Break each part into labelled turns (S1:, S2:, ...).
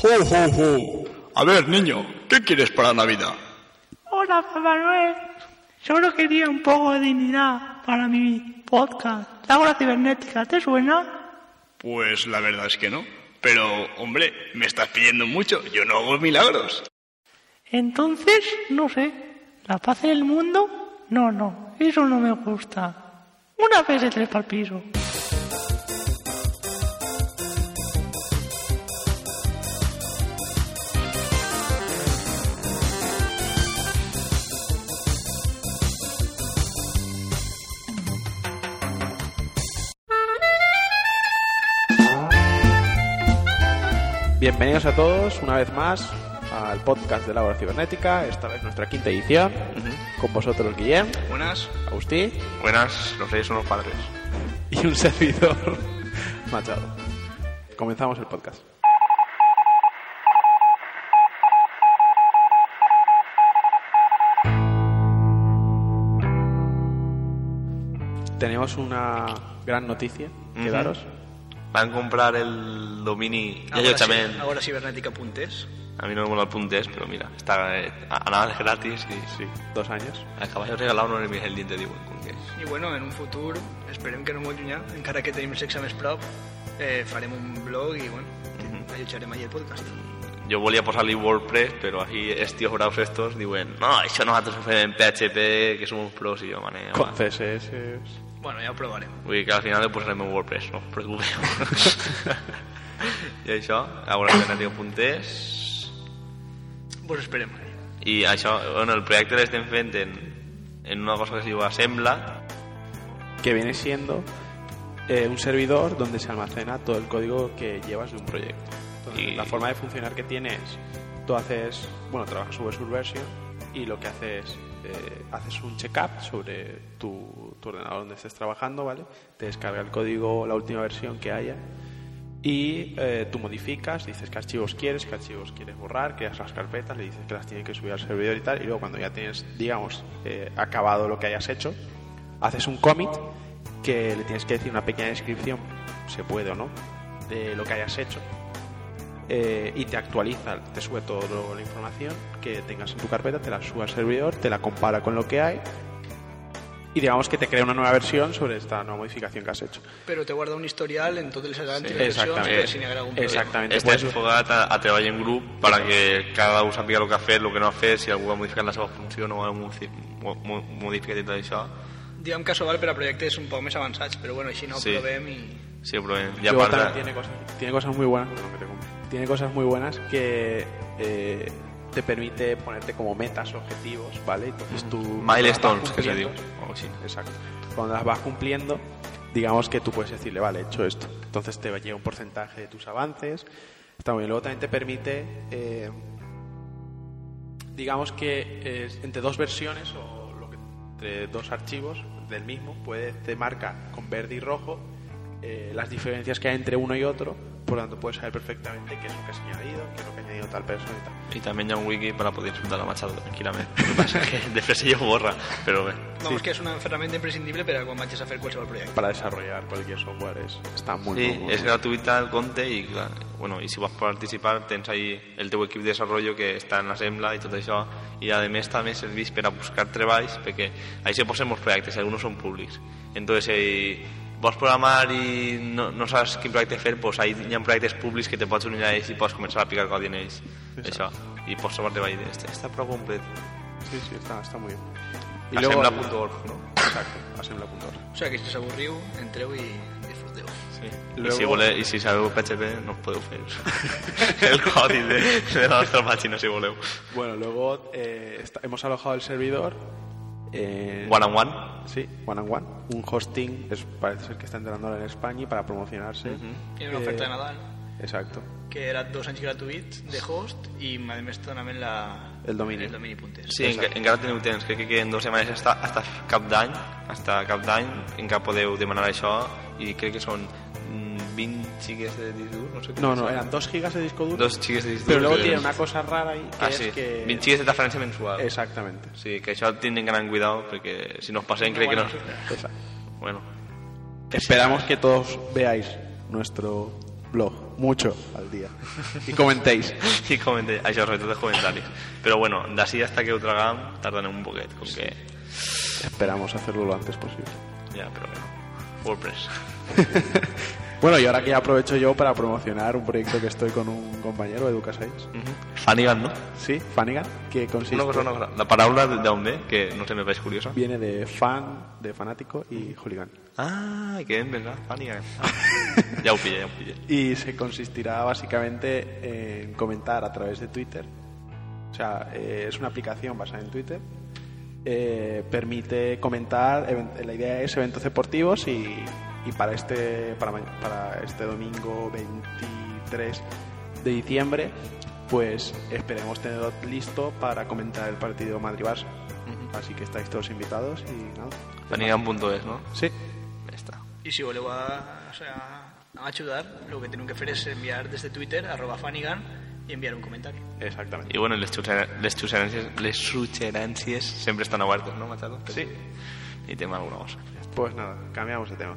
S1: ¡Jo, jo, jo! A ver, niño, ¿qué quieres para Navidad?
S2: Hola, Papá Noel. Solo quería un poco de dignidad para mi podcast. Laura Cibernética, ¿te suena?
S1: Pues la verdad es que no. Pero, hombre, me estás pidiendo mucho. Yo no hago milagros.
S2: Entonces, no sé. ¿La paz en el mundo? No, no. Eso no me gusta. Una PS3 para el piso.
S3: Bienvenidos a todos una vez más al podcast de la Hora Cibernética, esta vez nuestra quinta edición. Con vosotros Guillem,
S1: Buenas.
S3: Agustín
S4: Buenas, los reyes son los padres.
S3: y un servidor Machado. Comenzamos el podcast. Tenemos una gran noticia que
S4: Ujú.
S3: daros.
S4: Van a comprar el domini. Ya
S5: Ahora
S4: yo también.
S5: sí, ahora cibernética.es.
S4: A mí no me mola el puntes, pero mira, está eh, a, a nada es gratis y sí.
S3: Dos años.
S4: Acabas de regalar un enemigo el diente de Ewing, con que
S5: I bueno, en un futur, esperem que no molt llunyà, encara que tenim sexe més prop, eh, farem un blog i, bueno,
S4: Mhm.
S5: allotjarem allà el podcast.
S4: Yo volía a posarle WordPress, pero así estos bravos estos diuen, no, eso nosotros hacemos en PHP, que somos pros y yo, mané.
S3: Con CSS.
S5: Bueno, ja ho provarem.
S4: Vull dir que al final le posarem en WordPress, no us preocupeu. I això, a veure que no tinc punters.
S5: Vos esperem.
S4: I això, bueno, el projecte l'estem fent en, en una cosa que se diu Assembla,
S3: que viene siendo eh, un servidor donde se almacena todo el código que llevas de un proyecto. Entonces,
S4: Y-
S3: La forma de funcionar que tiene es, tú haces, bueno, trabajas sobre Subversion y lo que haces, eh, haces un check-up sobre tu, tu ordenador donde estés trabajando, ¿vale? Te descarga el código, la última versión que haya y eh, tú modificas, dices qué archivos quieres, qué archivos quieres borrar, creas las carpetas, le dices que las tienes que subir al servidor y tal, y luego cuando ya tienes, digamos, eh, acabado lo que hayas hecho, haces un commit que le tienes que decir una pequeña descripción, se puede o no, de lo que hayas hecho. eh, y te actualiza, te sube toda la información que tengas en tu carpeta, te la sube al servidor, te la compara con lo que hay y digamos que te crea una nueva versión sobre esta nueva modificación que has hecho.
S5: Però te guarda un historial en totes les anteriors versions
S3: Exactamente.
S5: per si n'hi hagués algun problema.
S3: Exactamente.
S4: Este
S3: Puedes-
S4: és enfocat a, a treball en grup per a que cada un sàpiga el que ha fet, el que no ha fet, si algú ha modificat la seva funció no ho ha modifi- mo- mo- modificat i tot això.
S5: Diguem que això val per a projectes un poc més avançats, però bueno, així no ho
S4: Sí.
S5: provem i...
S4: Sí, però bé, i a
S3: Luego
S4: part
S3: también
S4: de,
S3: tiene cosas, tiene cosas muy buenas. perdón, que te compre. tiene cosas muy buenas que eh, te permite ponerte como metas, objetivos, ¿vale? Entonces tú
S4: milestones,
S3: las vas
S4: que se Oh, diu.
S3: cumpliendo.
S4: O així.
S3: Exacto. Cuando las vas cumpliendo, digamos que tú puedes decirle, vale, he hecho esto. Entonces te llega un porcentaje de tus avances. Está muy bien. Luego también te permite, eh, digamos que eh, entre dos versiones o lo que- entre dos archivos del mismo, puedes, te marca con verde y rojo eh, las diferencias que hay entre uno y otro. Por lo tanto, puedes saber perfectamente qué es lo que has añadido, qué es lo que ha añadido tal persona y tal.
S4: I també hi ha un wiki per a poder insultar la Machado tranquil·lament. El que passa és que després ella ho borra, però bé.
S5: Vamos, que és una ferramenta imprescindible per a quan vagis a fer qualsevol projecte.
S3: Para desarrollar cualquier software es, está muy,
S4: Sí,
S3: muy, muy
S4: és
S3: bien.
S4: gratuïta el compte i, clar, bueno, i si vas participar tens ahí el teu equip de desenvolupament que està en Assembla i tot això i a més també serveix per a buscar treballs perquè ahí se posen molts projectes i alguns són públics entonces si vols programar i no, no saps quin projecte fer pues ahí hi ha projectes públics que te pots unir a ells i pots començar a picar codi en ells això, i pots trobar treball este, està prou complet
S3: Sí, sí, está, está muy bien.
S4: Assembla.org no?
S3: Exacto, Assembla.org.
S5: O sigui, que si us avorriu, entreu i disfruteu.
S4: Sí.
S3: Luego-
S4: I, si voleu, I si sabeu PHP, no us podeu fer el codi de, de la nostra pàgina, si voleu.
S3: Bueno, luego eh, está- hemos alojado el servidor. eh,
S4: One on one.
S3: Sí, One and One. Un hosting, es- parece ser que está entrando ahora en España y para promocionarse.
S5: Hi ha una
S3: Eh,
S5: oferta de Nadal,
S3: Exacto.
S5: que era dos anys gratuïts de host i, a més, donaven la...
S3: El domini.
S5: El domini puntes.
S4: Sí, enca encara teniu temps, crec que queden dues setmanes hasta, hasta cap d'any, hasta cap d'any encara podeu demanar això i crec que són mm, 20 xiques de disc dur, no sé què
S3: No, no, eran 2 gigas de disco duro.
S4: Dos xiques de disc dur.
S3: pero luego
S4: que-
S3: tiene una cosa rara ahí que
S4: ah,
S3: es
S4: sí,
S3: que.
S4: 20 xiques de transferència mensual.
S3: Exactamente.
S4: Sí, que això tenen gran cuidado perquè si no us passen crec que no.
S3: Exacto.
S4: Bueno,
S3: Esperamos que todos veáis nuestro blog mucho al dia. I comentéis.
S4: i comente, això, sobretot els comentaris. Però bueno, d'ací hasta que ho tragam tardarem un poquet, com que...
S3: Esperamos hacerlo lo antes posible.
S4: Ja, però bueno. WordPress.
S3: Bueno, y ahora que ya aprovecho yo para promocionar un proyecto que estoy con un compañero, Edu Casais.
S4: Mm -hmm. Fanigan, no?
S3: Sí, Fanigan, que consiste...
S4: Una cosa, una cosa. La paraula d'on ve, que no sé, me pareix curiosa.
S3: Viene de fan, de fanático y hooligan.
S4: Ah, que bien, ¿verdad? Fanigan. Ah, ja ho pillé, ja ho pillé.
S3: Y se consistirá básicamente en comentar a través de Twitter. O sea, eh, es una aplicación basada en Twitter. Eh, permite comentar, event- la idea es eventos deportivos y, y para, este, para, ma- para este domingo 23 de diciembre, pues esperemos tenerlo listo para comentar el partido Madrid-Barça. Así que estáis todos invitados y nada.
S4: Fanigan.es, ¿no?
S3: Sí,
S4: Ya está.
S5: Y si voleu a, o sea, a ayudar, lo que tienen que hacer es enviar desde Twitter, arroba Fanigan, y enviar un comentario.
S3: exactamente.
S4: Y bueno, les, sugerencias les, sugerències- les sugerències sempre estan obertes, no, Machado?
S3: Sí.
S4: I tema alguna cosa.
S3: Pues nada, cambiamos de tema.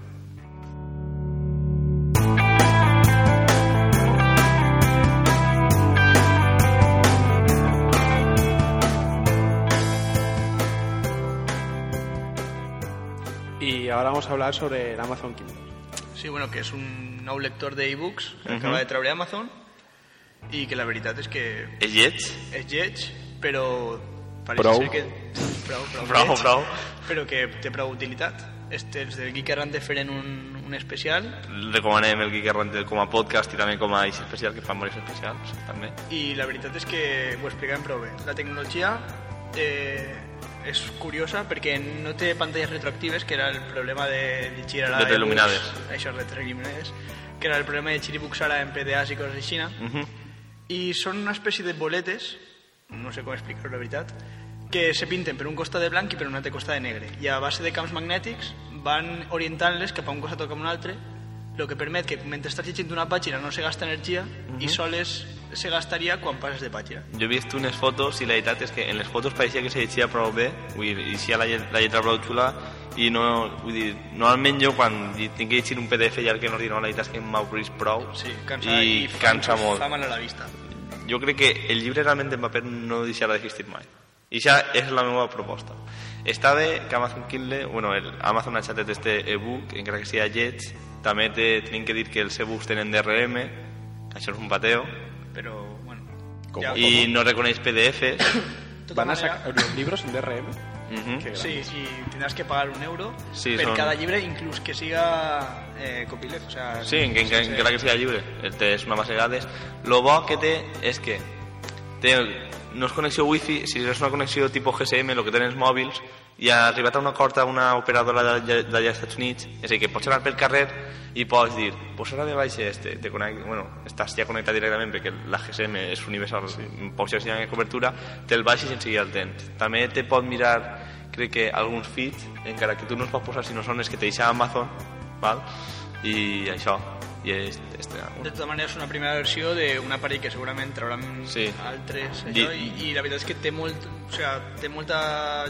S3: Y ahora vamos a hablar sobre el Amazon Kindle.
S5: Sí, bueno, que es un nou lector d'e-books que
S4: Ujú.
S5: acaba de treure Amazon i que la veritat és que
S4: Els llets?
S5: és lleig, però pareix
S3: Prou.
S5: ser que... Prou, prou,
S4: Prou,
S5: lleig,
S4: prou.
S5: Però que té prou utilitat. Este, els del Geek Errante feren un, un especial
S4: Recomanem el Geek Errante com a podcast i també com a eix especial, que fan molts especials, també.
S5: i la veritat és que ho explicaven prou bé. La tecnologia eh, és curiosa perquè no té pantalles retroactives, que era el problema de llegir ara...
S4: Retroil·luminades.
S5: ebooks- Això, retroil·luminades. Que era el problema de llegir ebooks ara en PDAs i coses així.
S4: Uh -huh.
S5: i són una espècie de boletes, no sé com explicar-ho la veritat, que se pinten per un costat de blanc i per un altre costat de negre. I a base de camps magnètics van orientant-les cap a un costat o cap a un altre, el que permet que mentre estàs llegint una pàgina no se gasta energia
S4: Mhm.
S5: i soles se gastaria quan passes de pàgina.
S4: Jo he vist unes fotos i la veritat és que en les fotos pareixia que se llegia prou bé, vull dir, llegia la, llet, la lletra prou xula i no, vull dir, normalment jo quan tinc que llegir un PDF llarg que no ordino, la veritat és que m'avorrís prou
S5: Sí, cansa i,
S4: i cansa molt.
S5: Fa mal a la vista.
S4: jo crec que el llibre realment en paper no deixarà d'existir mai. I això és la meva proposta. Està bé que Amazon Kindle, bueno, el Amazon ha xatet este e-book, encara que sigui lleig, també te, tenim que dir que els e-books tenen DRM, això és un pateo,
S5: Però, bueno...
S3: Com?
S5: Ja,
S4: i no reconeix PDFs.
S5: de tota
S3: ¿Van a
S5: manera- ¿Mm?
S3: sacar los libros en DRM?
S4: Mhm.
S3: Qué
S5: Sí,
S3: grande.
S5: y tendrás que pagar un euro
S4: Sí,
S5: per
S4: son-
S5: cada llibre, inclús que siga eh, copyleft. O sea,
S4: Sí, en, en, en, encara que sigui llibre. El té és una base de dades. Lo bo que té és que té, no és connexió wifi, si és una connexió tipus GSM, el que tenen els mòbils, i ha arribat a un acord a una operadora d'allà d'allà als Estats Units, és a dir, que pots anar pel carrer i pots dir, pues ara me baixa este, te connect, bueno, estàs ja connectat directament perquè la GSM és universal, sí. pocs llocs hi ha cobertura, te'l baixes i enseguida el tens. També te pot mirar, crec que alguns feeds, encara que tu no els pots posar si no són els que te deixa Amazon, val? i això, i és, és
S5: De tota manera és una primera versió d'un aparell que segurament trauran sí.
S4: Sí.
S5: altres
S4: Di-
S5: allò, i, i la veritat és que té, molt, o sea, té molta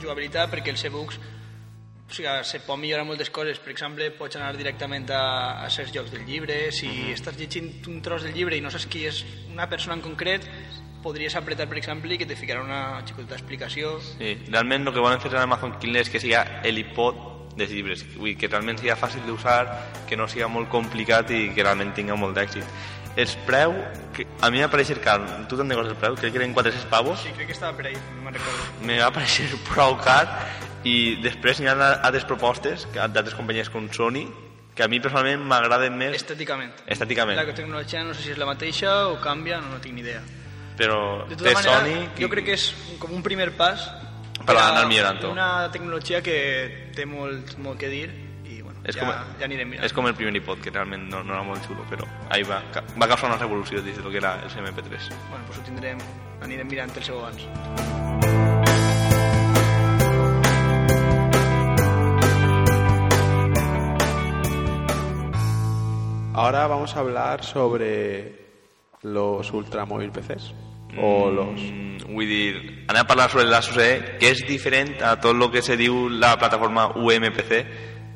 S5: jugabilitat perquè els ebooks o sigui, se pot millorar moltes coses. Per exemple, pots anar directament a, a certs llocs del llibre. Si
S4: Mhm.
S5: estàs llegint un tros del llibre i no saps qui és una persona en concret, podries apretar, per exemple, i que te ficarà una xicoteta explicació.
S4: Sí, realment el que volen fer en Amazon Kindle és que sigui el iPod dels llibres, vull dir, que realment sigui fàcil d'usar, que no sigui molt complicat i que realment tingui molt d'èxit. Els preu, que a mi m'ha pareixer car, tu te'n recordes el preu? Crec que eren 400 pavos,
S5: Sí, crec que estava per ahí, no me'n recordo.
S4: me va pareixer prou car i després n'hi ha altres propostes que- d'altres companyies com Sony, que a mi personalment m'agraden més
S5: Estèticament.
S4: estèticament,
S5: La tecnologia no sé si és la mateixa o canvia, no, no tinc ni idea.
S4: però
S5: De
S4: té
S5: tota manera,
S4: Sony...
S5: jo crec que és com un primer pas
S4: Per
S5: a
S4: anar millorant-ho.
S5: Una tecnologia que té molt, molt que dir i bueno,
S4: És
S5: ja,
S4: com,
S5: ja anirem mirant.
S4: és com el primer iPod, que realment no, no era molt xulo, però ahí va, ca- va causar una revolució dins del que era el MP3.
S5: Bueno, pues ho tindrem, anirem mirant els segons.
S3: Ahora vamos a hablar sobre los ultramóvil PCs o los
S4: Mm, vull dir, anem a parlar sobre l'ASUSE, que és diferent a tot el que se diu la plataforma UMPC,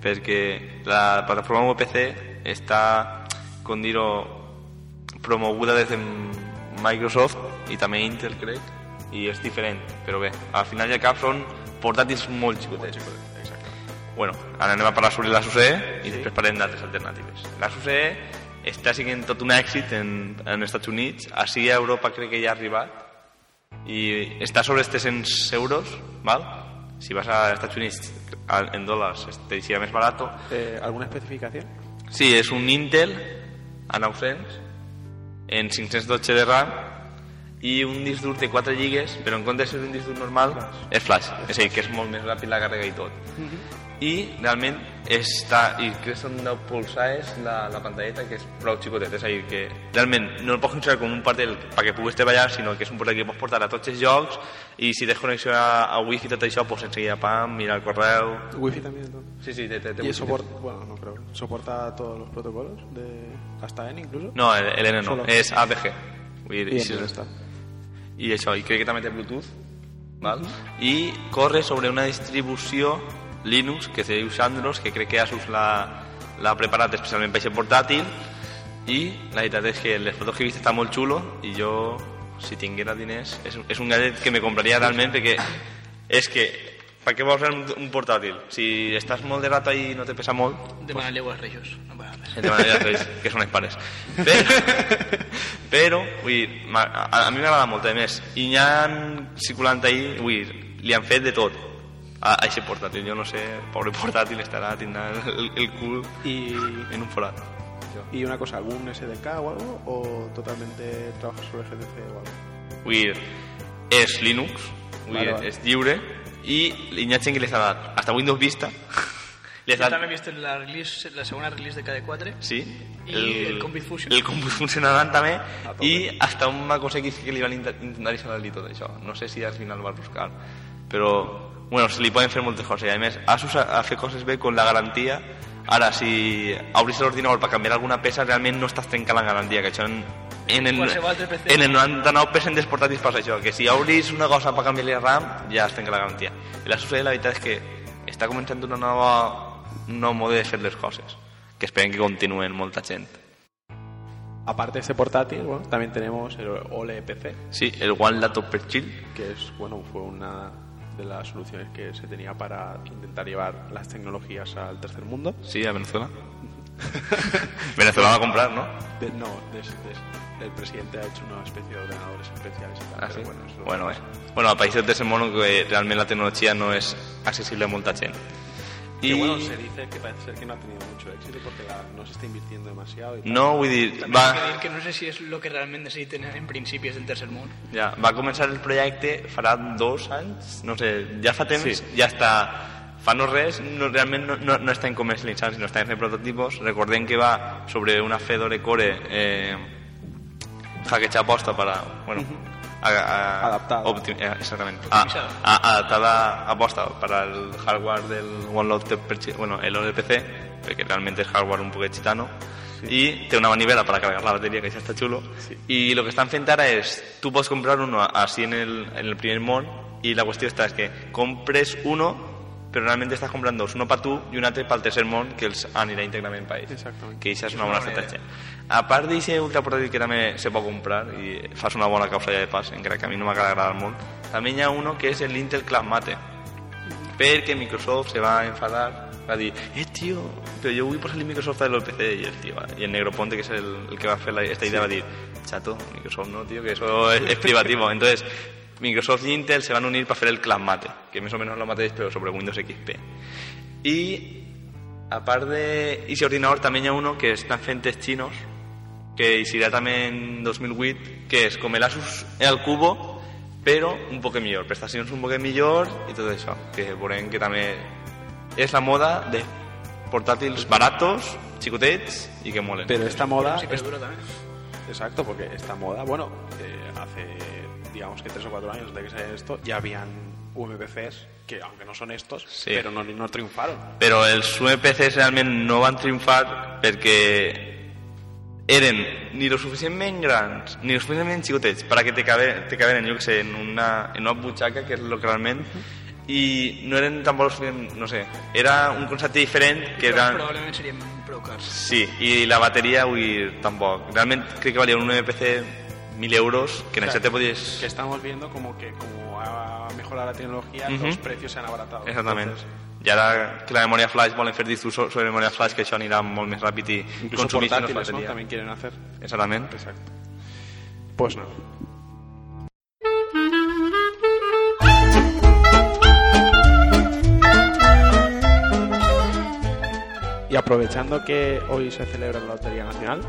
S4: perquè la plataforma UMPC està, com dir-ho, promoguda des de Microsoft i també Intel, crec, i és diferent, però bé, al final i al cap són portàtils molt xicotets.
S3: Exacte.
S4: Bueno, ara anem a parlar sobre la SUSE i després parlem d'altres alternatives. La SUSE està sent tot un èxit en, en els Estats Units, així a Europa crec que ja ha arribat, i està sobre els 300 euros, val? Si vas a Estats Units a- en dòlars te serà més barato.
S3: Eh, ¿Alguna especificación?
S4: Sí, és un Intel a 900 en 512 de RAM i un disc dur de 4 lligues, però en comptes de ser un disc dur normal, és flash. És a dir, que és molt més ràpid la càrrega i tot. I realment està, i crec que són 10 polsades la, la pantalleta, que és prou xicotet. És a dir, que realment no el pots considerar com un portàtil perquè puguis treballar, sinó que és un portàtil que pots portar a tots els jocs i si tens connexió a, a wifi i tot això, doncs enseguida pam, mira el correu...
S3: Wi-Fi también. entonces.
S4: Sí, sí, té, té, té
S3: ¿Y
S4: wifi.
S3: soporta, bueno, no creo, soporta todos los protocolos? De, ¿Hasta N incluso?
S4: No, el, el N no,
S3: Solo.
S4: és APG. Vull dir,
S3: Bien,
S4: sí,
S3: ya está.
S4: i això, i crec que també té Bluetooth val? i corre sobre una distribució Linux que se diu Sandros que crec que Asus l'ha l'ha preparat especialment per aquest portàtil i la veritat és que les fotos que he vist està molt xulo i jo si tinguera diners és, és un gadget que me compraria realment perquè és que per què vols un, un portàtil? Si estàs molt de rato ahí i no te pesa molt,
S5: Demanar-li a Reyes. No passa res.
S4: entre maneras tres, que són els pares. Però, però vull dir, m'ha- a, a mi m'agrada molt, a més, i n'hi ha circulant ahir, vull dir, li han fet de tot a, a aquest portàtil. Jo no sé, pobre portàtil estarà, tindrà el, el cul
S3: Y,
S4: en un forat.
S3: y una cosa, ¿algún SDK o algo? ¿O totalmente trabajas sobre GTC o algo?
S4: Vull dir, és Linux, vull
S3: Vale,
S4: dir,
S3: vale.
S4: és lliure, i hi ha gent que li ha dat, hasta Windows Vista, li
S5: Jo
S4: ha
S5: també
S4: dat,
S5: he vist la, release, la segona release de KD4.
S4: sí,
S5: I el Combi Fusion.
S4: El Combi Fusion també, i hasta un macOS X que li van inter- intentar instal·lar-li tot això. No sé si al final ho va buscar, però... Bueno, se li poden fer moltes coses, i a més, Asus ha, ha fet coses bé con la garantia. Ara, si obris l'ordinador per canviar alguna peça, realment no estàs trencant la garantia, que això en, en, el,
S5: Qualsevol altre PC.
S4: en el 99% dels portàtils passa això, que si obris una cosa per canviar la RAM, ja es trenca la garantia. I la Asus, la veritat és que està començant una nova, un nou mode de fer les coses, que esperen que continuen molta gent.
S3: Aparte de ese portátil, bueno, también tenemos el OLE PC,
S4: Sí, el One Laptop per Chill.
S3: que es bueno fue una de las soluciones que se tenía para intentar llevar las tecnologías al tercer mundo.
S4: Sí, a Venezuela. Venezuela va a comprar, ¿no?
S3: De- no, des- des- el presidente ha hecho una especie de ordenadores especiales. y tal,
S4: Ah,
S3: pero
S4: sí?
S3: bueno, eso-
S4: Bueno, bé. Bueno, a països de ese mono que realment la tecnologia no és accessible a molta gent.
S3: Que,
S4: I
S3: bueno, se dice que parece ser que no ha tenido mucho éxito porque la- no se está invirtiendo demasiado. Y tal.
S4: no, vull dir,
S5: També he de dir
S4: va,
S5: que no sé si és el que realment necessiten en principis del tercer món.
S4: ja, va començar el projecte farà dos anys, no sé, ja fa temps, ja està, fa no res, no, realment no, no, no estem comercialitzant, sinó estem fent prototipos. Recordem que va sobre una Fedora Core eh, hackecha aposta para, bueno, a- a-
S3: Adaptada.
S4: opti- eh, exactamente. A- a- adaptada aposta ah, para el hardware del OneLoad, bueno, el OLPC, porque realmente es hardware un poco chitano. Y tiene una manivela para cargar la batería, que ya está chulo. Y lo que están frente ahora es, tú puedes comprar uno así en el, en el primer mon, y la cuestión está es que compres uno, pero realmente estás comprando dos, uno para tú y un otro para el tercer mon, que els anirà íntegrament para ells.
S3: Exactament.
S4: Que això és una bona estratègia. A part d'aquest ultraportàtil que també se pot comprar i fas una bona causa ja de pas, encara que a mi no m'acaba d'agradar molt, també hi ha uno que és el Intel Club Mate, perquè Microsoft se va enfadar, va dir, eh, tio, però jo vull posar-li Microsoft a l'OPC, i el tio, va- i el Negro Ponte, que és el, el que va fer la, esta idea, va dir, chato, Microsoft no, tio, que eso es, es privativo. Entonces, Microsoft i Intel se van unir per fer el Club Mate, que més o menys lo mateix, però sobre Windows XP. I a part de ese ordinador también hay uno que están frentes chinos que hiciera también en 2008 que es como el Asus al cubo pero un poco mejor prestaciones un poco mejor y todo eso que por que también es la moda de portátiles baratos chicotets y que molen
S3: Pero esta moda,
S5: Sí, però dura també.
S3: exacto, porque esta moda, bueno, eh, hace digamos que tres o cuatro años de que salió esto, ya habían UMPCs que, aunque no son estos,
S4: Sí.
S3: pero no, no triunfaron.
S4: però els UMPCs E realment no van triomfar perquè eren ni lo suficientment grans ni lo suficientment xicotets perquè te caben, te caben jo que sé, en una, en una butxaca que és lo que realment i no eren tan bons, no sé, era un concepte diferent que
S5: Però
S4: era...
S5: Probablement serien Pro Cars.
S4: Sí, i la bateria, vull dir, tampoc. Realment crec que valia un E MPC 1000 euros, que en
S3: Claro.
S4: ese te podías...
S3: Que estamos viendo como que como ha mejorado la tecnología,
S4: Ujú.
S3: los precios se han abaratado.
S4: Exactament.
S3: Entonces,
S4: I ara que la memòria flash volen fer discursos sobre memòria flash, que això anirà molt més ràpid i
S3: incluso
S4: consumir menys
S3: portátiles ¿no?
S4: bateria.
S3: también quieren hacer.
S4: Exactament.
S3: Exacto. Pues no. Y aprovechando que hoy se celebra la Lotería Nacional,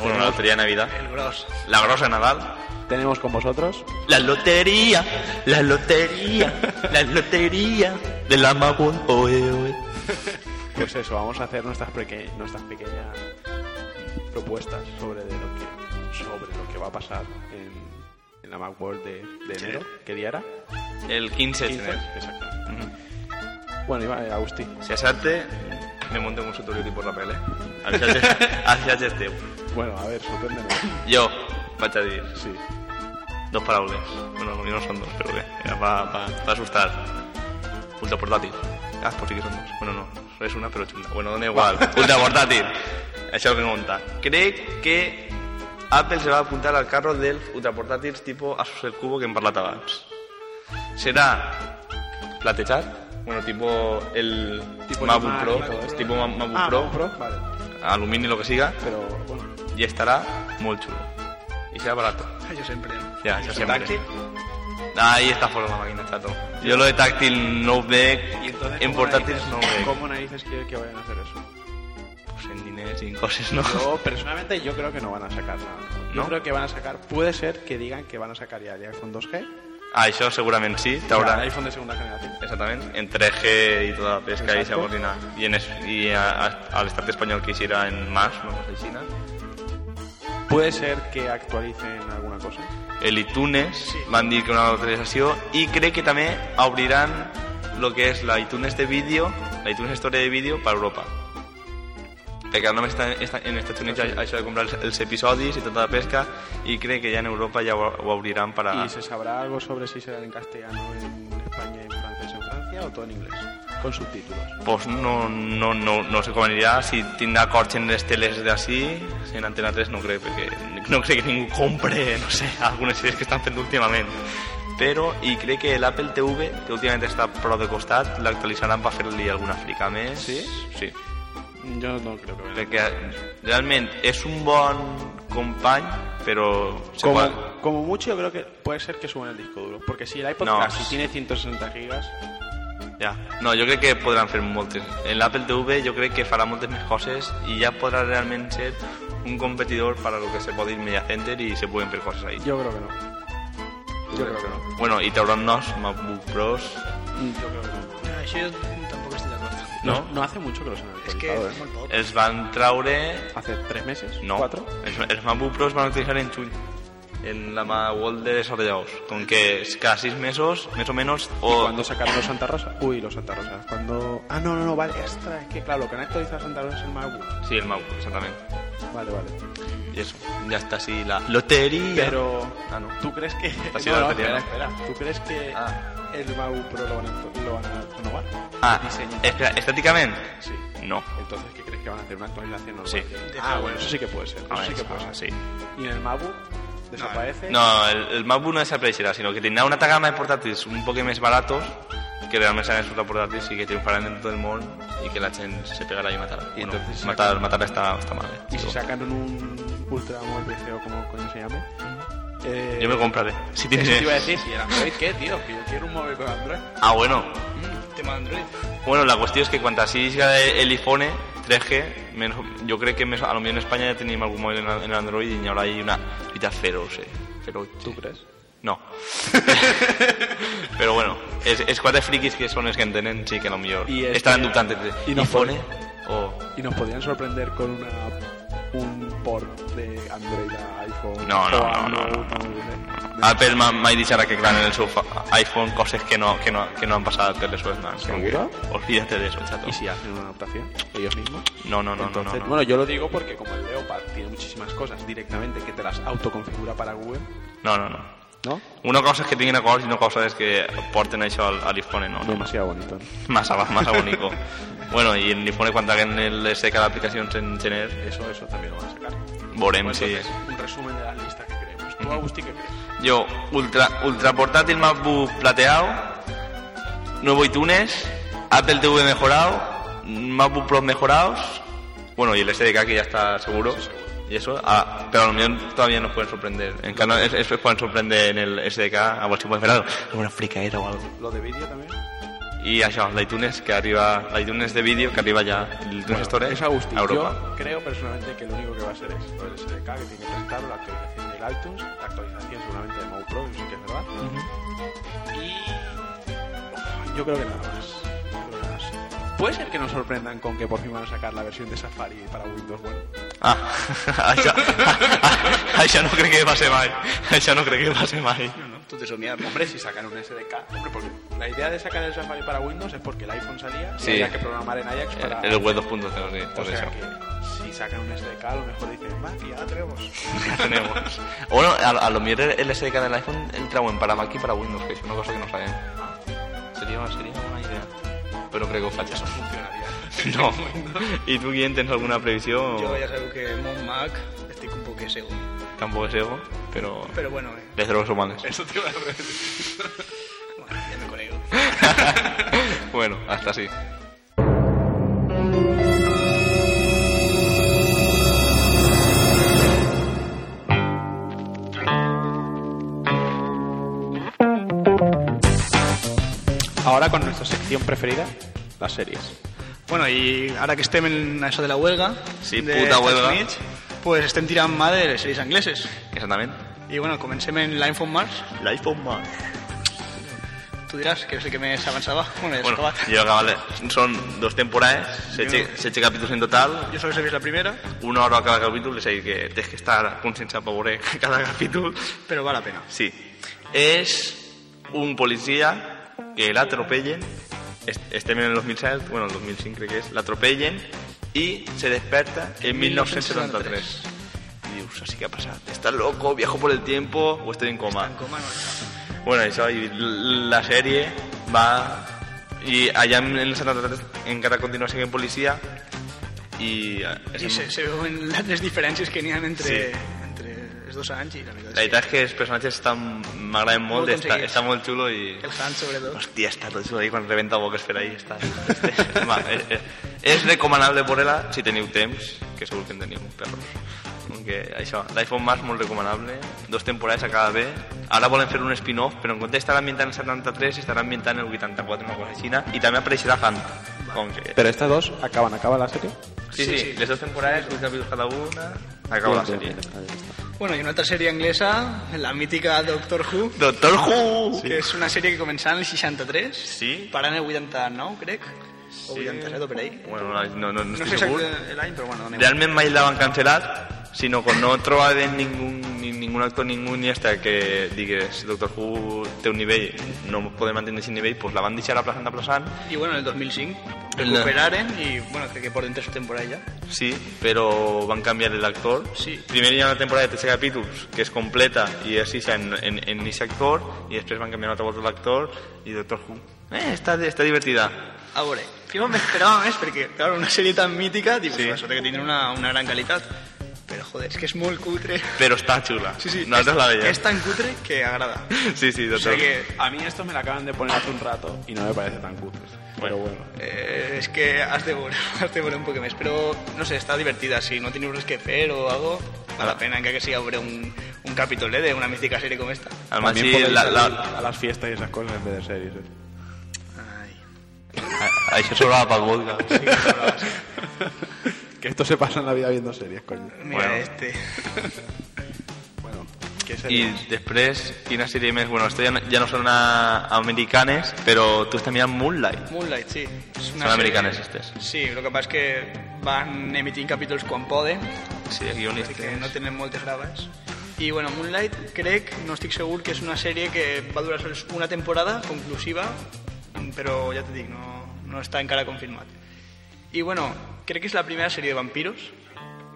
S4: Bueno, la loteria de Navidad.
S5: El gros.
S4: La grossa de Nadal.
S3: tenemos con vosotros
S4: La loteria, la loteria, la loteria de la magua, oe, oe.
S3: Pues eso, vamos a hacer nuestras, peque- nuestras pequeñas propuestas sobre, de lo que, sobre lo que va a pasar en, en la Macworld de, de enero. ¿Qué día era?
S4: El 15 de
S3: 15,
S4: gener.
S3: exacto. Bueno, iba, eh, Agustín.
S4: Si acerte, me monto en un sotorio tipo rapel, eh? Així haig- Així haig esteu.
S3: Bueno, a ver, sorpréndenos.
S4: Jo vaig a dir
S3: Sí.
S4: dos paraules. Bueno, potser no són dos, però bé, era pa, pa, pa assustar. Ultra portàtil. Ah, però sí que són dos. Bueno, no, és una però xula. Bueno, dona igual. Ultra portàtil. Això que monta. Crec que Apple se va apuntar al carro dels ultraportàtils tipus Asus el Cubo que hem parlat abans. Serà platejat, bueno, tipo el
S3: Tipo
S4: MacBook
S3: Lima
S4: Pro,
S3: y todo esto.
S4: tipo Ma- MacBook
S3: Ah,
S4: Pro,
S3: Mac Pro, vale.
S4: alumini, lo que siga,
S3: Pero bueno,
S4: y estará muy chulo. Y será barato.
S5: Jo sempre.
S4: Ya, eso siempre.
S3: táctil.
S4: Ahí está por la máquina, chato. Yo lo de táctil no
S3: Y
S4: ve,
S3: entonces,
S4: en
S3: ¿cómo
S4: portátil
S3: narices-
S4: no ve.
S3: ¿Cómo narices quiere que vayan a hacer eso?
S4: Pues en dinero, sin cosas, ¿no?
S3: Yo personalmente yo creo que no van a sacar nada. Yo
S4: ¿No?
S3: creo que van a sacar, puede ser que digan que van a sacar ya el iPhone 2G,
S4: Ah, eso seguramente sí, te
S3: el
S4: habrá.
S3: iPhone de segunda generación.
S4: Exactamente, en 3G y toda la pesca y se
S3: Exacto.
S4: coordina. Y, en, es- y a- a- al estado español que hiciera en más, no sé, China.
S3: Puede ser que actualicen alguna cosa.
S4: El iTunes, van a decir que una actualització y creo que también abrirán lo que es la iTunes de vídeo, la iTunes Store de vídeo para Europa. Perquè ara només està, està, en Estats Units hi ha això de comprar els, els episodis i tota la pesca i crec que ja en Europa ja ho, ho obriran per a...
S3: ¿Y se sabrá algo sobre si será en castellano, en España, en francés, en Francia o todo en inglés? Con subtítulos.
S4: Pues no, no, no, no sé com anirà, si tindrà acords en les teles d'ací, en Antena 3 no crec, perquè no crec que ningú compre, no sé, algunes sèries que estan fent últimament. Però, i crec que l'Apple TV, que últimament està prou de costat, l'actualitzaran per fer-li alguna frica més.
S3: Sí?
S4: Sí.
S3: Yo no creo que venga.
S4: Perquè realment és un bon company, però... se pot-
S3: Como, como mucho yo creo que puede ser que suban el disco duro. Porque si el iPod
S4: No.
S3: Classic tiene 160 gigas,
S4: Ja. No, jo crec que podran fer moltes. En l'Apple TV jo crec que farà moltes més coses i ja podrà realment ser un competidor per a lo que se pot dir Media Center i se puguen fer coses ahí.
S3: yo creo que no. Yo creo que no.
S4: Bueno, i trauran nos, MacBook Pros,
S3: Yo creo que no.
S5: No, això jo tampoc estic d'acord.
S4: no?
S3: No, no hace mucho que los han
S5: És que
S3: actualizado,
S5: és
S3: ¿eh?
S5: molt poc.
S4: Els van traure...
S3: Hace tres meses,
S4: No,
S3: cuatro.
S4: els, els MacBook Pros van utilitzar en juny en la mà World de desarrolladors com que és cada sis mesos més o menys o
S3: Cuando sacaron los Santa Rosa. Uy, los Santa Rosa. Cuando. Ah, no, no, no, vale. Extra, es que claro, lo que han actualizado Santa Rosa es el MacBook.
S4: sí, el MacBook, exactament
S3: Vale, vale.
S4: i eso, ja està sí, la loteria
S3: Pero.
S4: Ah, no.
S3: ¿Tú crees que.?
S4: Ha sido
S3: no, no,
S4: la lotería,
S3: espera,
S4: ¿no?
S3: espera. ¿Tú crees que
S4: Ah.
S3: el MacBook Pro lo van a, lo van a renovar?
S4: ah,
S3: Diseño.
S4: espera, estèticament
S3: Sí.
S4: no,
S3: Entonces, ¿qué crees que van a hacer? ¿Una actualización normal?
S4: Sí.
S3: Ah, bueno, eso sí que puede ser. Eso
S4: Ah,
S3: sí que
S4: eso,
S3: puede ser.
S4: sí.
S3: ¿Y en el MacBook desaparece?
S4: No, el, el MacBook no desapareixerà, sinó que tindrà una altra gamma de portàtils un poc més baratos, que realment seran els portàtils i que triomfaran en tot el món i que la gent se pegarà i matarà.
S3: I
S4: bueno,
S3: entonces si
S4: matar,
S3: sacan-
S4: matar està, està mal. Eh?
S3: ¿Y si sacaron un Ultra Mobile PC o como coño se llame? Eh,
S4: Jo me compraré. Eh, Si tienes...
S3: Eso te iba a decir, ¿y el Android qué, tío? Que yo quiero un móvil con Android.
S4: Ah, bueno.
S5: Mm, tema Android.
S4: Bueno, la qüestió és que quan així siga el iPhone 3G, menys, jo crec que més, a lo millor en Espanya ja tenim algun mòbil en, en Android i hi haurà ahí una lluita feroz, eh? Feroz.
S3: ¿Tú crees?
S4: No. Però bueno, els, els quatre friquis que són els que entenen sí que a lo millor
S3: I és
S4: estaran
S3: que-
S4: dubtant entre
S3: i este no
S4: iPhone o...
S3: Y nos podrían sorprender con una un port de Android a iPhone.
S4: No, no,
S3: o a
S4: no, no,
S3: un
S4: no,
S3: Ultra Mobile PC.
S4: Apple ma- mai deixarà que claren el seu fa- iPhone coses que no, que no, que no han passat per les seves mans.
S3: Seguro?
S4: Olvídate de eso, chato.
S3: ¿Y si hacen una adaptación ellos mismos?
S4: No, no, no, no,
S3: Entonces,
S4: no, no.
S3: Bueno, yo lo digo porque como el Leopard tiene muchísimas cosas directamente que te las autoconfigura para Google,
S4: No, no, no.
S3: no?
S4: Una cosa és que tinguin acords i una cosa és que porten això al, a l'Ifone, no? no.
S3: Demasiado bonito. ¿no?
S4: Massa, va- massa bonico. bueno, i en l'Ifone quan haguen el SDK d'aplicacions en gener,
S3: Eso, eso también lo van a sacar.
S4: veurem
S3: Bueno,
S4: si...
S3: entonces, un resumen de la lista que creemos. ¿Tú, Agustín, qué crees?
S4: Yo, ultra, ultra portátil MacBook plateado, nuevo iTunes, Apple TV mejorado, MacBook Pro mejorados, bueno, y el SDK que ya está seguro. Y eso, ah, pero a lo mejor todavía nos pueden sorprender. En cambio, es- eso es pueden sorprender en el SDK, a ver si pueden esperar alguna fricaera o algo.
S3: ¿Lo de vídeo también?
S4: Y això, l'iTunes que arriba, l'iTunes de vídeo que arriba ya, l'iTunes Store
S3: es Agustín.
S4: Pues a Europa.
S3: Yo creo personalmente que lo único que va a ser es lo del SDK, que tiene que presentar la actualización del iTunes, la actualización seguramente de Mode Pro, que sí que es verdad. Y. Yo creo que nada más. Yo creo que nada más. Puede ser que nos sorprendan con que por fin van a sacar la versión de Safari para Windows Bueno.
S4: Ah, això, això no crec que passi mai. Això no crec que passi mai.
S5: Tú te somiar, ¿no?
S3: Hombre, si sacan un SDK. Hombre, porque la idea de sacar el Safari para Windows es porque el iPhone salía y
S4: Sí. Eh,
S3: había que programar en Ajax para.
S4: El web 2.0, sí,
S3: O
S4: tot
S3: sea
S4: això.
S3: que si sacan un SDK, a lo mejor dicen, más ya la tenemos.
S4: Ja tenemos. Bueno, a, a lo mejor el SDK del iPhone el trauen para Mac y para Windows, que es una cosa que no sabemos. Sería, sería una idea. Pero creo que falta.
S3: Funcionaría.
S4: No. ¿Y tú, quién, tens alguna previsión?
S5: Yo ya sabes que Mon Mac estoy un poco seguro.
S4: Tampoco es ego, pero...
S5: Pero bueno, eh,
S4: Desde los humanos.
S3: Eso te iba a decir.
S5: bueno, ya me conecto.
S4: bueno, hasta así.
S3: Ahora con nuestra sección preferida, las series.
S5: Bueno, y ahora que estem en això de la huelga,
S4: Sí,
S5: de
S4: puta
S5: Estats
S4: huelga.
S5: Units, pues estem tirant mà de les sèries angleses.
S4: Exactament.
S5: I bueno, comencem en Line from Mars.
S4: L'iPhone Mac.
S5: Tu diràs que és el que més avançava. Bueno, ja s'ha
S4: Bueno,
S5: acabat.
S4: yo acabaré. Son dos temporadas, 7 capítulos en total,
S5: Jo només he vist la primera,
S4: una hora cada capítol, és a dir, que tens que estar conscienciat per veure cada capítol.
S5: però val la pena.
S4: Sí. És un policia que l'atropellen, est- estem en el 2007, bueno, el 2005 crec que és, l'atropellen i se desperta en 1973. I dius, així que ha passat. Està loco, viajo por el tiempo o estoy en coma.
S5: En coma no està.
S4: Bueno, això, i l- la sèrie va... I allà en el 73 encara continua sent policia i... eh, és
S5: I
S4: en-
S5: se, se veuen les diferències que n'hi ha entre,
S4: Sí.
S5: entre els dos anys i la veritat.
S4: La
S5: és que
S4: veritat és que els personatges estan... m'agraden molt,
S5: Molt
S4: està,
S5: aconseguits.
S4: està molt xulo i...
S5: El Hans, sobretot.
S4: Hòstia, està tot xulo ahí quan rebenta Boquesfer ahí, està... Va, és, és, és recomanable veure-la si teniu temps, que segur que en teniu, perros. Que això, l'iPhone Mars molt recomanable, dos temporades acaba bé. Ara volen fer un spin-off, però en comptes d'estar ambientant el 73, estarà ambientant el 84, una cosa així, i també apareixerà Han. Com que...
S3: Pero estas dos acaban, acaba la serie.
S4: Sí, sí, les dues temporades, un capítol cada una, acaba la sèrie.
S5: Bueno, i una altra sèrie anglesa, la mítica Doctor Who,
S4: Doctor Who!
S5: que és una sèrie que començà en el 63,
S4: Sí.
S5: parant el 89, crec, o 87 o per ahí.
S4: Bueno, no, no, no
S5: No
S4: estic
S5: sé
S4: segur.
S5: exacte l'any, però bueno, anem.
S4: Realmente mai la van cancelar, sino que no trobaven ningún, ni- ningún actor ningún ni hasta que digues Doctor Who té un nivell, no podem mantenir sin nivell, pues la van deixar aplaçant, aplaçant,
S5: I bueno, en el 2005
S4: El-
S5: recuperaren i bueno, crec que porten tres temporades ja.
S4: sí, pero van canviar l'actor.
S5: Sí.
S4: Primer hi ha una temporada de 13 capítols que es completa i es ixa en, en, en ese actor i després van canviar una altra volta l'actor i Doctor Who. Eh, està, està divertida.
S5: A veure, jo m'esperava més perquè, claro, una sèrie tan mítica, dius, sí. sota que tindrà una, una gran qualitat, però joder, és que és molt cutre.
S4: Però està xula.
S5: Sí, sí,
S4: Nosaltres la veiem.
S5: és tan cutre que agrada.
S4: Sí, sí,
S5: O
S4: Doctor
S5: sea
S4: Who.
S5: que,
S3: A mí esto me la acaban de poner hace un rato y no me parece tan cutre. Pero bueno.
S5: eh, és que has de veure, has de veure un poc més, però no sé, està divertida, si no teniu res que fer o algo, val
S4: Ah.
S5: la pena encara que sigui a veure un, un capítol eh, d'una mítica sèrie com esta.
S4: Al
S3: También
S4: Maxi,
S3: podéis
S4: la,
S3: salir
S4: la,
S3: a las fiestas y esas cosas en vez de series. ¿eh?
S5: Ai.
S4: A- Això sobrava pel vodka.
S3: Que esto se pasa en la vida viendo series, coño.
S5: Mira
S4: Bueno.
S5: este.
S3: Bueno, ¿qué
S4: I
S3: series?
S4: després, quina sèrie més? Bueno, esto ja, no- ja no són a, americanes, però tu estàs mirant Moonlight.
S5: Moonlight, sí. És
S4: Són americanes, estes.
S5: Sí, el que passa és que van emitint capítols quan poden,
S4: Sí, guionistes.
S5: perquè no tenen moltes graves. I bueno, Moonlight crec, no estic segur, que és una sèrie que va durar sols una temporada conclusiva, però ja t'ho dic, no, no està encara confirmat. I bueno, crec que és la primera sèrie de vampiros,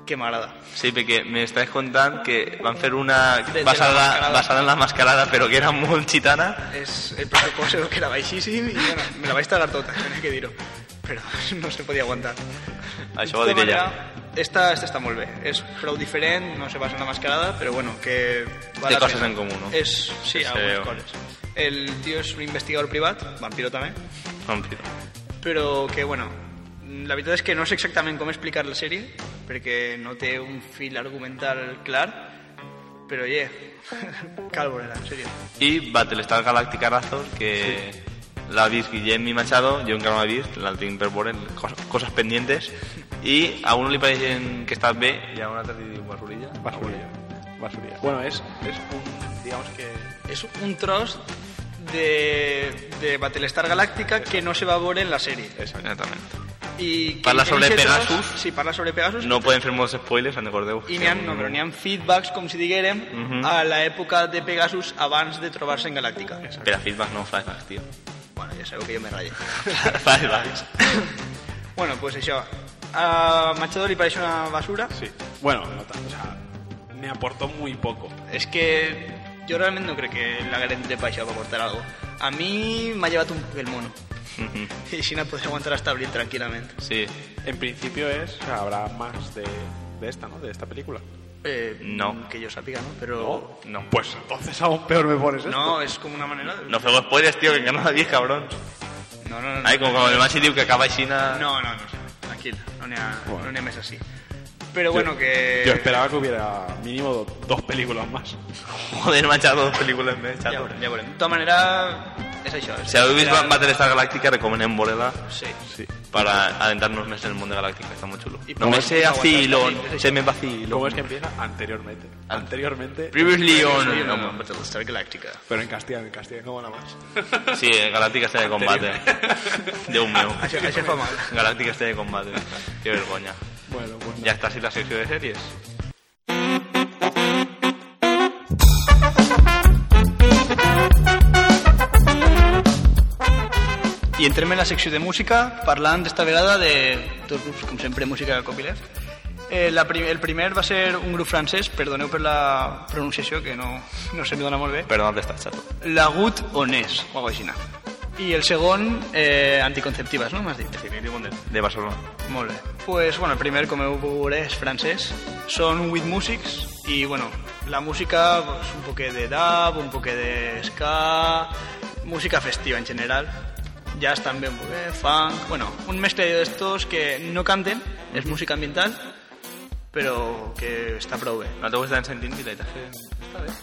S5: que m'agrada.
S4: Sí, perquè m'estàs contant que van fer una
S5: de la
S4: basada,
S5: mascarada.
S4: basada en la mascarada però que era molt gitana
S5: Es el presupuesto que era baixíssim i bueno, me la vaig tragar tota, tenia que dir-ho. Però no se podia aguantar.
S4: Això ho Ah, diré ja.
S5: Esta, esta està molt bé. És prou diferent, no se basa en la mascarada, però bueno, que...
S4: Té
S5: la
S4: coses
S5: pena.
S4: en comú, no?
S5: És, sí,
S4: Sí,
S5: algunes
S4: sí.
S5: coses. El tio és un investigador privat, vampiro també,
S4: Vampiro.
S5: però que, bueno, la veritat és que no sé exactament com explicar la sèrie, perquè no té un fil argumental clar, però, yeah, cal veure-la, en sèrio.
S4: I Battlestar Galactica Razor, que l'ha vist Guillem i Machado, jo encara no l'he vist, la tinc per veure, cos, coses pendentes, i a un li pareixen que està bé i a un altre li diu basurilla.
S3: Basurilla. Basurilla. Bueno, es, es un, digamos que...
S5: és un tros de, de Battlestar Galàctica que no se va veure en la sèrie.
S4: Exactament.
S5: I que
S4: Parla
S5: en
S4: sobre
S5: eixe tros-
S4: Pegasus.
S5: Sí, parla sobre Pegasus.
S4: No podem fer molts spoilers, en recordeu?
S5: I n'hi ha, no, però n'hi ha feedbacks, com si diguérem,
S4: Mhm.
S5: a l'època de Pegasus abans de trobar-se en Galàctica.
S4: Per a feedback no, flashbacks, tio.
S5: Bueno, ja sabeu que jo me ratllo.
S4: flashbacks.
S5: bueno, doncs pues Ah, això. A Machado li pareix una basura.
S3: Sí. Bueno, no tanto, o sea, me aportó muy poco.
S5: És que jo realment no crec que la Garen de Paixó va portar alguna cosa. A mi m'ha llevat un poc el mono.
S4: Mhm.
S5: I així no podré aguantar hasta abril tranquil·lament.
S4: sí.
S3: En principio es, o sea, habrá más de, de esta, ¿no? De esta película.
S5: Eh,
S4: No.
S5: Que yo sabía, ¿no? Pero...
S4: No.
S3: Pues entonces aún peor me pones ¿eh? esto.
S5: No, es como una manera de...
S4: No feu spoilers, tio, que encara no la vist, cabrons.
S5: no, no. no.
S4: Ai, com quan el Maxi diu que acaba aixina...
S5: No, no, no. Tranquil, no n'hi ha,
S3: Bueno.
S5: no n'hi ha més així. Pero bueno, que...
S3: Yo esperaba que hubiera mínimo do- dos películas más.
S4: Joder, Machado, dos pel·lícules més,
S5: Ja
S4: xato.
S5: veurem, ja veurem. De tota manera, és això. És
S4: Si habéis visto
S5: Era-
S4: Battlestar Galactica, recomienden Borela
S5: Sí.
S3: Sí.
S4: para adentrarnos más en el mundo de Galáctica, está muy chulo.
S5: Y
S4: No me
S5: pues,
S4: sé
S5: no
S4: vacilón,
S5: aguantas,
S4: se me vacilón.
S3: ¿Cómo es que empieza? Anteriormente. Anteriormente.
S4: Previously
S5: Sí,
S4: on...
S5: no,
S4: No,
S5: Battlestar Galactica.
S3: Pero en castellano, en castellano, no nada más.
S4: sí, eh, Galáctica está de combate. Dios mío.
S5: Això, això fa mal.
S4: Galáctica está de combate. Qué vergüenza.
S3: Bueno, pues
S4: Ya está así la sección de series.
S5: I entrem en la secció de música parlant d'esta vegada de dos grups, com sempre, música copyleft. Eh, la prim el primer va ser un grup francès, perdoneu per la pronunciació, que no, no se me dona molt bé,
S4: Perdón, ¿dónde estás, chato?
S5: La Gut on és, o alguna cosa així. no? I el segon, eh, anticonceptives, no? M'has dit.
S4: De Barcelona.
S5: Molt bé. pues, bueno, el primer, com heu pogut veure, és francès. Són 8 músics i, bueno, la música pues, un poquet de dub, un poquet de ska, música festiva en general. Jazz també un poquet, funk... Bueno, un mescle d'estos que no canten, és música ambiental, però que està prou bé.
S4: ¿No te gusta en sentir la etaje?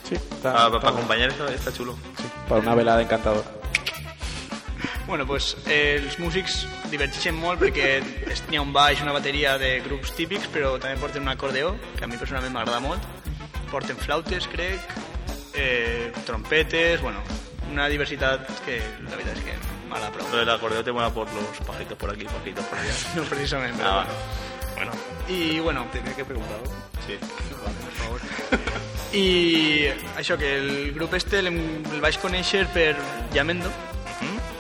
S3: Sí, está,
S4: Ah, para
S3: está-
S4: acompañar eso está chulo.
S3: sí, para una velada encantadora.
S5: Bueno, pues, eh, els músics divergeixen molt perquè es- n'hi ha un baix, una bateria de grups típics, però també porten un acordeó, que a mi personalment m'agrada molt. Porten flautes, crec, eh, trompetes, bueno, una diversitat que la veritat és que m'agrada
S4: Lo
S5: prou.
S4: del acordeón te mola por los pajitos por aquí, pajitos por allá.
S5: No precisament, però
S4: Ah,
S5: bueno.
S4: bueno.
S5: I, bueno,
S3: Tenía que preguntar.
S4: Sí.
S5: i això, que el grup este l'hem- el vaig conèixer per Llamendo,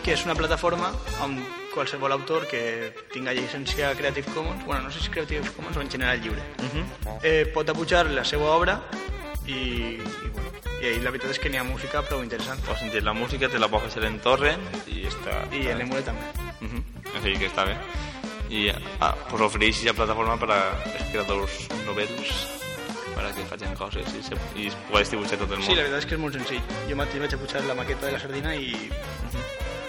S5: que és una plataforma amb qualsevol autor que tinga llicència Creative Commons, bueno, no sé si Creative Commons o en general lliure, eh, pot apujar la seva obra i, i, bueno, i ahí la veritat és que n'hi ha música prou interessant.
S4: Puedes sentir la música, te la puedes hacer en torrent y está...
S5: I en Emule també.
S4: Ujú, Así que está bien. Y ah, pues ofrecéis esa plataforma para los creadores novelos para que hagan cosas y, se, y podáis dibujar todo el mundo.
S5: Sí, la veritat és que és molt senzill. Jo mateix vaig apujar la maqueta de la sardina i...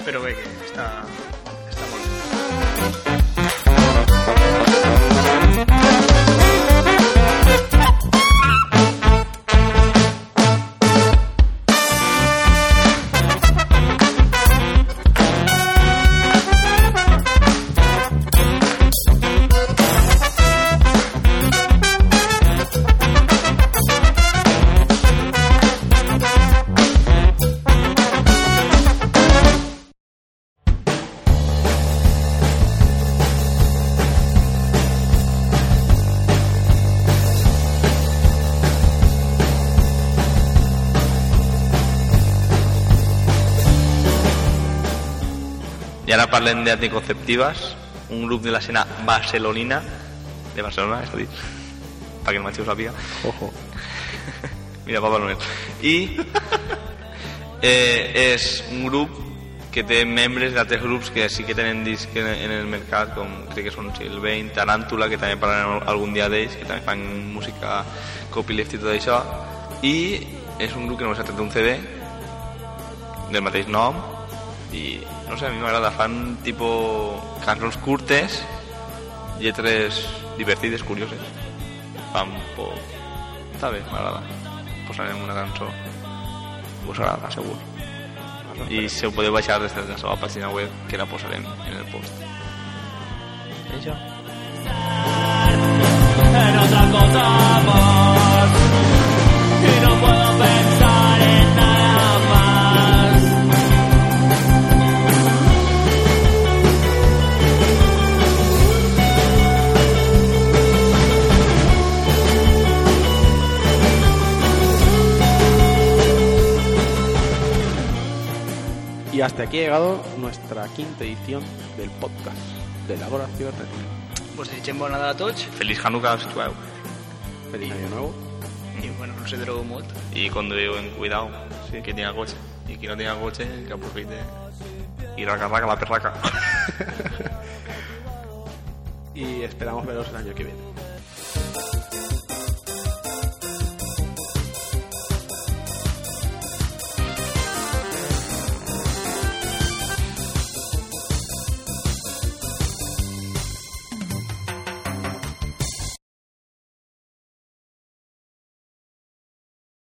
S5: Però bé, que està, està molt bé.
S4: I ara parlem d'anticonceptives, un grup de l'escena barcelonina, de Barcelona, és a dir, perquè el Matxeu sàpiga.
S3: Ojo.
S4: Mira, Papa Noel. I eh, és un grup que té membres d'altres grups que sí que tenen disc en, en el mercat, com crec que són Silvain, Taràntula, que també parlarem algun dia d'ells, que també fan música copyleft i tot això. I és un grup que només ha tret un CD del mateix nom i no sé, a mi m'agrada, fan tipus cançons curtes lletres divertides, curioses fan por està bé, m'agrada posarem una cançó us pues agrada, segur i se ho podeu baixar des de la seva pàgina web que la posarem en el post això
S6: en otra cosa más y no puedo pensar en nada más.
S3: Y hasta aquí ha llegado nuestra quinta edición del podcast de Labora Cibernética.
S5: Pues desitgem bona Nadal a tots
S4: Feliç Hanukkah si jueu
S3: Feliz año nuevo.
S5: i bueno, no sé drogo molt.
S4: i conduïu en cuidado sí. que tinga cotxe i qui no tinga cotxe que aprofite i raca raca la perraca
S3: Y esperamos veros el año que viene.